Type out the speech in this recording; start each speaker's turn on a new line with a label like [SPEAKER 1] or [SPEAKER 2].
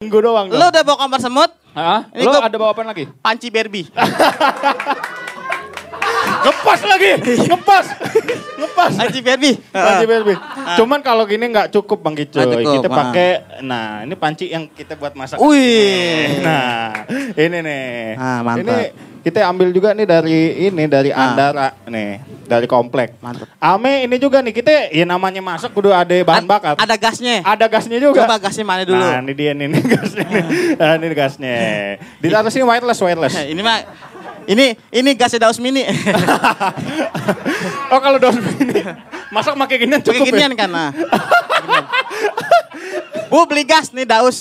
[SPEAKER 1] Minggu doang
[SPEAKER 2] Lu udah bawa kompor semut,
[SPEAKER 3] Hah?
[SPEAKER 2] Ini
[SPEAKER 3] Lo
[SPEAKER 2] gua-
[SPEAKER 3] ada bawa apa lagi?
[SPEAKER 2] panci Barbie.
[SPEAKER 1] Ngepas lagi, ngepas. ngepas.
[SPEAKER 2] Panci Barbie.
[SPEAKER 1] Panci BSB. Ah. Cuman kalau gini nggak cukup Bang Kicoy.
[SPEAKER 2] Nggak cukup,
[SPEAKER 1] Kita
[SPEAKER 2] ah.
[SPEAKER 1] pakai, nah ini panci yang kita buat masak.
[SPEAKER 2] Wih.
[SPEAKER 1] Nah, ini nih.
[SPEAKER 2] Ah, mantap.
[SPEAKER 1] Ini kita ambil juga nih dari ini dari
[SPEAKER 2] Ah.
[SPEAKER 1] Andara nih, dari komplek.
[SPEAKER 2] Mantap.
[SPEAKER 1] Ame ini juga nih kita ya namanya masak kudu ada bahan
[SPEAKER 2] Ad-
[SPEAKER 1] bakar.
[SPEAKER 2] Ada gasnya.
[SPEAKER 1] Ada gasnya juga.
[SPEAKER 2] Coba gasnya mana dulu.
[SPEAKER 1] Nah, ini dia nih, ini gasnya. nih. Nah, ini gasnya. Di atas ini wireless, wireless.
[SPEAKER 2] Eh, Ini mah ini ini gasnya Daus Mini.
[SPEAKER 1] oh, kalau daun ini masak pakai ginian
[SPEAKER 2] Pakai
[SPEAKER 1] cukup. ya?
[SPEAKER 2] ginian kan. Nah. Ginian. Bu beli gas nih Daus.